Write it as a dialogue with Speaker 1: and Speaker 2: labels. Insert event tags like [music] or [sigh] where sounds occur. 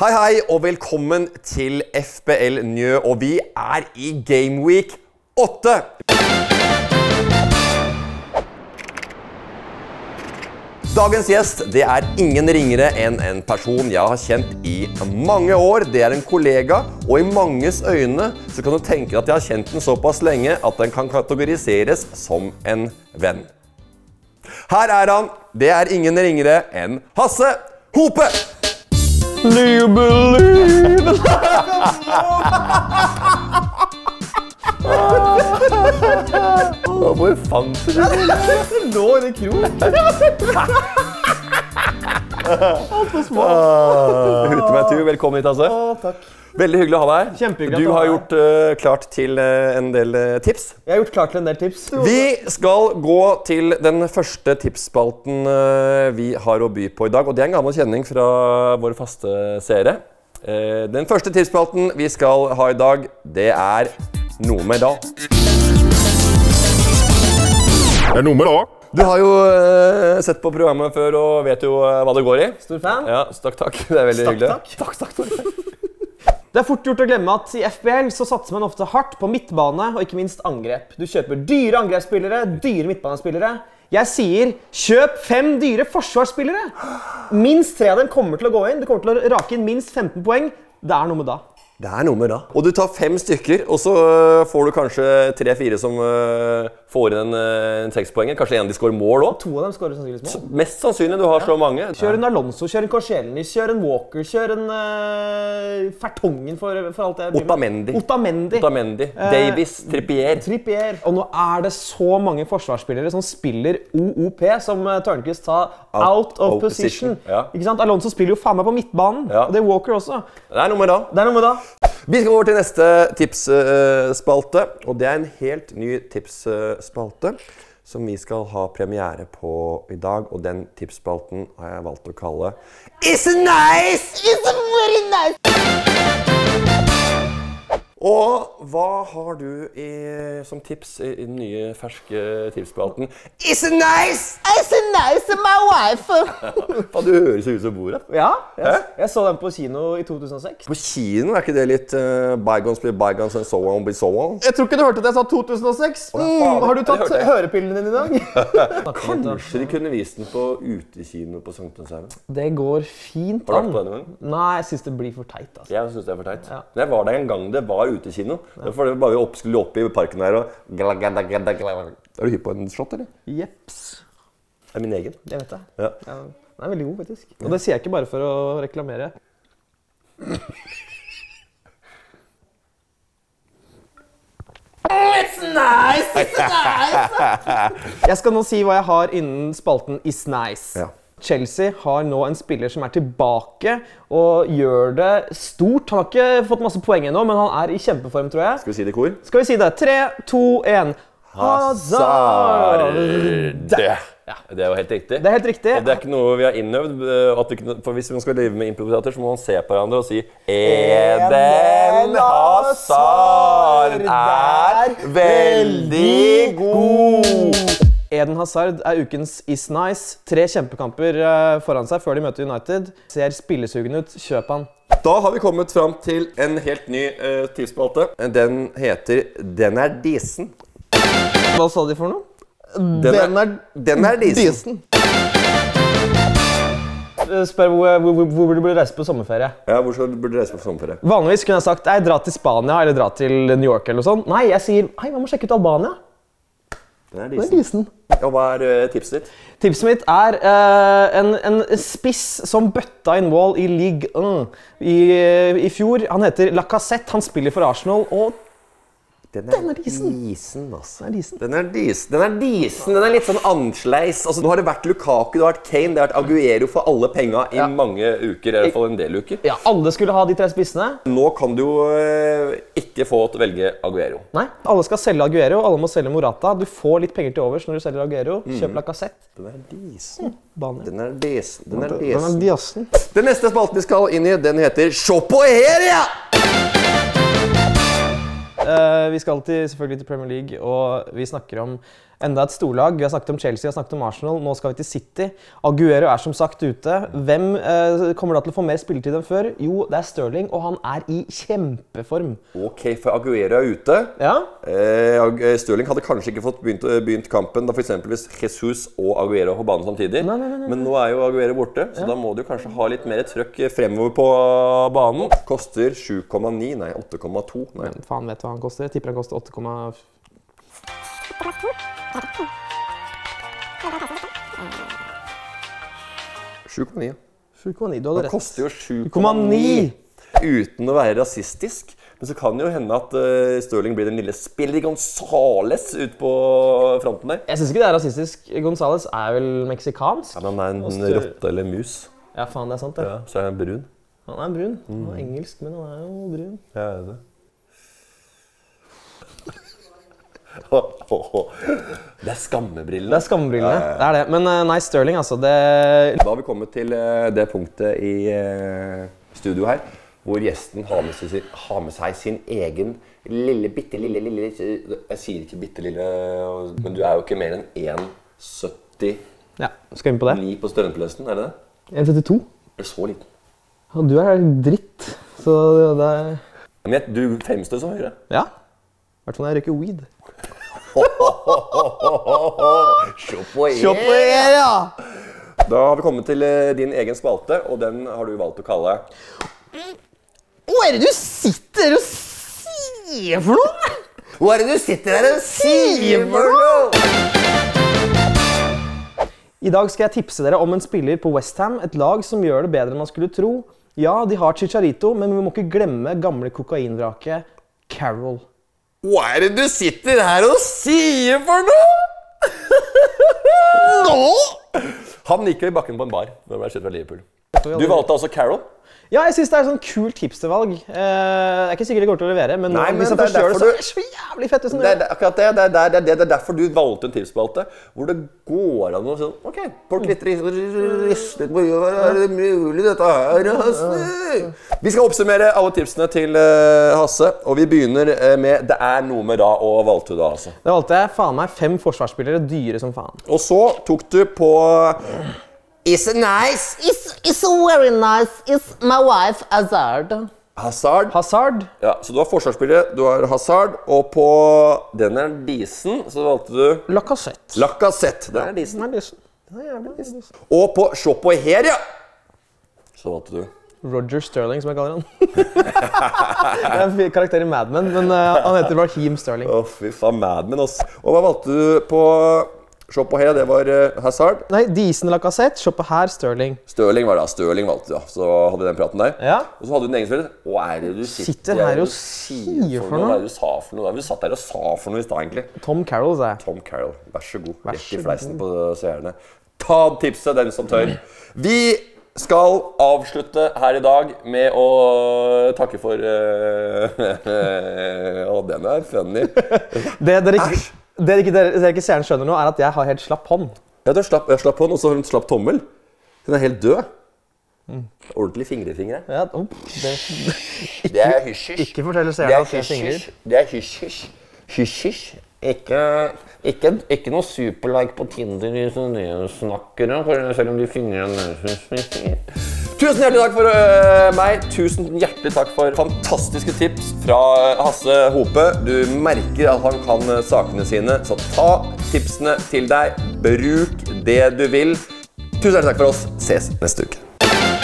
Speaker 1: Hei, hei, og velkommen til FBL Njø. Og vi er i Gameweek 8. Dagens gjest det er ingen ringere enn en person jeg har kjent i mange år. Det er en kollega, og i manges øyne så kan du tenke at jeg har kjent den såpass lenge at den kan kategoriseres som en venn. Her er han. Det er ingen ringere enn Hasse Hope! Hvor fant du det?
Speaker 2: Nå er det krok.
Speaker 1: Hutemetu, velkommen hit, Hasse.
Speaker 2: takk.
Speaker 1: Veldig hyggelig å ha deg her.
Speaker 2: Kjempehyggelig at
Speaker 1: Du
Speaker 2: du
Speaker 1: har
Speaker 2: er her.
Speaker 1: gjort eh, klart til eh, en del eh, tips.
Speaker 2: Jeg har gjort klart til en del tips.
Speaker 1: Vi skal gå til den første tipsspalten eh, vi har å by på i dag. Og det er en gammel kjenning fra våre faste seere. Eh, Den første tipsspalten vi skal ha i dag, det er Noe med da.
Speaker 3: Det er nummer A.
Speaker 1: Du har jo eh, sett på programmet før og vet jo eh, hva det går i.
Speaker 2: Stor fan.
Speaker 1: Ja, stakk takk. [laughs] Det er veldig
Speaker 2: Stakk
Speaker 1: hyggelig.
Speaker 2: takk. Det er fort gjort å glemme at i FBL så satser man ofte hardt på midtbane og ikke minst angrep. Du kjøper dyre angrepsspillere, dyre midtbanespillere. Jeg sier kjøp fem dyre forsvarsspillere! Minst tre av dem kommer til å gå inn. Du kommer til å rake inn minst 15 poeng. Det er noe med da.
Speaker 1: Det er noe med da. Og du tar fem stykker, og så øh, får du kanskje tre-fire som øh, får inn en, øh, en sekspoenger. Kanskje en de scorer mål òg.
Speaker 2: To av dem skårer sannsynligvis mål.
Speaker 1: Mest sannsynlig. Du har så mange.
Speaker 2: Kjør en Alonso, kjør en Korselinis, kjør en Walker, kjør en eh, Fertongen for, for alt jeg driver med.
Speaker 1: Otamendi.
Speaker 2: Otamendi.
Speaker 1: Otamendi. Davis. Trippier.
Speaker 2: Trippier. Og nå er det så mange forsvarsspillere som spiller OOP, som eh, Tørnquist sa. Out, of,
Speaker 1: of position,
Speaker 2: position.
Speaker 1: ja.
Speaker 2: Ikke sant? Alonso spiller jo faen meg på midtbanen.
Speaker 1: Ja.
Speaker 2: Og det er Walker også.
Speaker 1: Det er noe med da.
Speaker 2: Det er noe med da.
Speaker 1: Vi skal over til neste tipsspalte, og det er en helt ny tipsspalte som vi skal ha premiere på i dag, og den tipsspalten har jeg valgt å kalle It's nice! It's very nice! Og hva har du i, som tips i i den nye, ferske tipsspalten? It's nice!
Speaker 4: It's nice, my wife.
Speaker 1: Faen, du høres ut som bordet.
Speaker 2: Ja, jeg, jeg så den på kino i 2006.
Speaker 1: På kino er ikke det litt eh, Bygones blir bygones and so on be so on?
Speaker 2: Jeg tror ikke du hørte at jeg sa 2006.
Speaker 1: faen,
Speaker 2: Mm, har du
Speaker 1: det
Speaker 2: tatt
Speaker 1: hørte jeg.
Speaker 2: hørepillene dine [laughs] i dag?
Speaker 1: Kanskje de kunne vist den på utekino på Sankthanshaugen.
Speaker 2: Det går fint
Speaker 1: Har du vært
Speaker 2: an.
Speaker 1: på denne gangen?
Speaker 2: Nei, jeg syns det blir for teit. altså.
Speaker 1: Jeg syns det er for teit.
Speaker 2: Ja.
Speaker 1: Men jeg var der en gang det var utekino. Da får det bare opp, skulle opp i parken her og gla, gla, gla, gla, gla. Er du hypp på en shot, eller?
Speaker 2: Jeps.
Speaker 1: Det er min egen.
Speaker 2: Jeg vet det.
Speaker 1: Ja.
Speaker 2: Ja, Den er veldig god, faktisk. Og det sier jeg ikke bare for å reklamere. Mm,
Speaker 4: It's nice, it's nice.
Speaker 2: Jeg skal nå si hva jeg har innen spalten Is nice.
Speaker 1: Ja.
Speaker 2: Chelsea har nå en spiller som er tilbake og gjør det stort. Han har ikke fått masse poeng ennå, men han er i kjempeform, tror jeg.
Speaker 1: Skal vi si det i kor?
Speaker 2: Skal vi si det? Tre, to, én. Hazard!
Speaker 1: Det. det er jo helt riktig.
Speaker 2: Det er helt riktig.
Speaker 1: Og det er ikke noe vi har innøvd. eh, At vi kunne, for Hvis man skal drive med improvisater, så må man se på hverandre og si Eden Hazard er veldig god!
Speaker 2: Eden Hazard er ukens Is nice. Tre kjempekamper eh, foran seg før de møter United. Ser spillesugen ut. Kjøp han.
Speaker 1: Da har vi kommet fram til en helt ny uh, tipsspalte. Den heter Den er disen.
Speaker 2: Hva sa de for noe?
Speaker 1: Den er, den er disen.
Speaker 2: Eh, Spør hvor, hvor, hvor du burde reise på sommerferie.
Speaker 1: Ja, hvor skal burde du reise på sommerferie?
Speaker 2: Vanligvis kunne jeg sagt «Nei, dra til Spania eller dra til New York. eller noe sånt. Nei, jeg sier «Hei, man må sjekke ut Albania.
Speaker 1: Den er
Speaker 2: Det er
Speaker 1: disen.
Speaker 2: disen.
Speaker 1: Og hva er eh, tipset ditt?
Speaker 2: Tipset mitt er eh, en, en spiss som bøtta inn mål i Ligue 1 i, i fjor. Han heter Lacassette, han spiller for Arsenal. og
Speaker 1: Den
Speaker 2: Den er disen.
Speaker 1: altså.
Speaker 2: Den er disen.
Speaker 1: Den er disen. Den er disen. Den er litt sånn annerledes. Altså, nå har det vært Lukaku, det har vært Kane, det har vært Aguero for alle penga i mange uker. I hvert fall en del uker.
Speaker 2: Ja, alle skulle ha de tre spissene.
Speaker 1: Nå kan du jo eh, ikke få til å velge Aguero.
Speaker 2: Nei, alle skal selge Aguero, alle må selge Morata. Du får litt penger til overs når du selger Aguero. Kjøp Lacassette.
Speaker 1: Den er disen.
Speaker 2: Bane.
Speaker 1: Den er disen. Den er
Speaker 2: Den er
Speaker 1: disen.
Speaker 2: diassen.
Speaker 1: Den neste spalten vi skal inn i, den heter Se på her, ja!
Speaker 2: Eh, vi skal til, selvfølgelig til Premier League, og vi snakker om Enda et storlag. Vi har snakket om Chelsea vi har snakket om Arsenal. Nå skal vi til City. Aguero er som sagt ute. Hvem eh, kommer da til å få mer spilletid enn før? Jo, det er Stirling, og han er i kjempeform.
Speaker 1: Ok, for Aguero er ute.
Speaker 2: Ja?
Speaker 1: Eh, Ag- Stirling hadde kanskje ikke fått begynt, eh, begynt kampen da for eksempel hvis Jesus og Aguero er på banen samtidig.
Speaker 2: Nei, nei, nei, nei.
Speaker 1: Men nå er jo Aguero borte, så da må du kanskje ha litt mer trøkk fremover på banen. Koster 7,9, nei 8,2. Nei.
Speaker 2: Faen vet hva han koster. Jeg tipper han koster 8,5.
Speaker 1: ja.
Speaker 2: Du hadde
Speaker 1: Det
Speaker 2: rett.
Speaker 1: koster jo 7,9
Speaker 2: 7,9.
Speaker 1: uten å være rasistisk. Men så kan det jo hende at eh, Stirling blir den lille Spilly Gonzales ut på fronten der.
Speaker 2: Jeg syns ikke det er rasistisk. Gonzales er vel meksikansk?
Speaker 1: Ja, men han er en
Speaker 2: Stirling-
Speaker 1: rotte eller mus,
Speaker 2: Ja, faen, det er sant, det.
Speaker 1: ja, Mm. så er han brun.
Speaker 2: Han er brun. Han er engelsk, men han er jo brun.
Speaker 1: Ja, jeg vet det. [laughs] Åh, åh, åh. Det er
Speaker 2: Det
Speaker 1: skammebrillene.
Speaker 2: er skammebrillene. Det er det. Men eh, nei, Stirling, altså. Det
Speaker 1: Da har vi kommet til eh, det punktet i eh, studio her hvor gjesten har med seg, har med seg sin egen lille, bitte lille, lille Jeg sier ikke bitte lille, men du er jo ikke mer enn 1,79
Speaker 2: Ja, skal vi inn på det?
Speaker 1: på størrelsen, er det det?
Speaker 2: 1,72.
Speaker 1: Er du så liten?
Speaker 2: Og du er dritt. Så det er
Speaker 1: Men jeg, du fremstår som høyere.
Speaker 2: Ja. I hvert fall når jeg røyker weed.
Speaker 1: Se på
Speaker 2: ja!
Speaker 1: Da har vi kommet til eh, din egen spalte, og den har du valgt å kalle
Speaker 4: Hva er det du sitter og sier for noe?
Speaker 1: Hva er det du sitter her og
Speaker 4: sier for
Speaker 1: noe?!
Speaker 2: I dag skal jeg tipse dere om en spiller på Westham, et lag som gjør det bedre enn man skulle tro. Ja, de har Chicharito, men vi må ikke glemme gamle kokainvraket Carol.
Speaker 1: Hva er det du sitter her og sier for noe?! Nå?! Han gikk jo i bakken på en bar da han ble kjøpt fra Liverpool. Du valgte altså Carol.
Speaker 2: Ja, jeg syns det er et sånn kult hipstervalg. Eh, det er ikke sikkert det går til å levere, men,
Speaker 1: Nei, men
Speaker 2: hvis jeg
Speaker 1: det er
Speaker 2: får kjøre det, så
Speaker 1: derfor
Speaker 2: er det så jævlig fett. ut som
Speaker 1: Det
Speaker 2: det
Speaker 1: er, det er akkurat det, det, er, der- det, er, det, det er derfor du valgte en tipsspalte hvor det går an å sånn OK, folk litt ris- rister på jorda. Er det mulig, dette her, Hasse? Vi skal oppsummere alle tipsene til eh, Hasse, og vi begynner eh, med Det er noe med da og valgte du da, altså.
Speaker 2: Da valgte jeg faen meg fem forsvarsspillere dyre som faen.
Speaker 1: Og så tok du på Is it nice?
Speaker 4: It's, it's very nice. It's my wife Azard.
Speaker 1: Hazard.
Speaker 2: Hazard.
Speaker 1: Ja, så du har forsvarsspillere, du har Hazard, og på den er disen, så valgte du
Speaker 2: Lacassette.
Speaker 1: Lacassette. Den er disen.
Speaker 2: Disen er lysen. Den er jævla lysen.
Speaker 1: Og på Se på her, ja! Så valgte du
Speaker 2: Roger Sterling, som jeg kaller [laughs] han. det er en fin karakter i Mad Men, men eh, han heter Raheem Sterling.
Speaker 1: Å, fy faen, Mad Men, ass. Og hva valgte du på Se på her? Det var eh, Hazard.
Speaker 2: Nei, Disen Lacassette. Se på her, Sterling.
Speaker 1: Stirling var det. ja. Stirling valgte du, ja. Så hadde vi den praten der.
Speaker 2: Ja.
Speaker 1: Og så hadde du en egen spiller. Hva er det du sitter,
Speaker 2: Sitter her og sier for noe?
Speaker 1: Hva er det du sa for noe? Hva er det du satt der og sa for noe i stad, egentlig?
Speaker 2: Tom Carroll, sa jeg.
Speaker 1: Tom Carroll. Vær så god.
Speaker 2: Vær
Speaker 1: Rett
Speaker 2: så
Speaker 1: i fleisen på seerne. Ta tipset, den som tør. Vi skal avslutte her i dag med å takke for eh, [laughs] Å, den er funny.
Speaker 2: Det dere ikke,
Speaker 1: Æsj.
Speaker 2: det ikke, dere, dere ikke seerne skjønner nå, er at jeg har helt slapp hånd.
Speaker 1: Ja, den slapp, jeg slapp hånd, og så har hun slapp tommel. Hun er helt død. Ordentlig fingrefinger.
Speaker 2: Ja, oh, det,
Speaker 1: Det er hysj-hysj.
Speaker 2: ikke fortell
Speaker 1: Det
Speaker 2: seerne
Speaker 1: er
Speaker 2: at jeg fingrer.
Speaker 1: hysj-hysj. Det er hysj-hysj. Hysj-hysj. Ikke, ikke, ikke noe superlike på Tinder i snakkere, selv om de fingrer en Tusen hjertelig takk for øh, meg. Tusen hjertelig takk for fantastiske tips fra øh, Hasse Hope. Du merker at han kan øh, sakene sine, så ta tipsene til deg. Bruk det du vil. Tusen hjertelig takk for oss. Ses neste uke.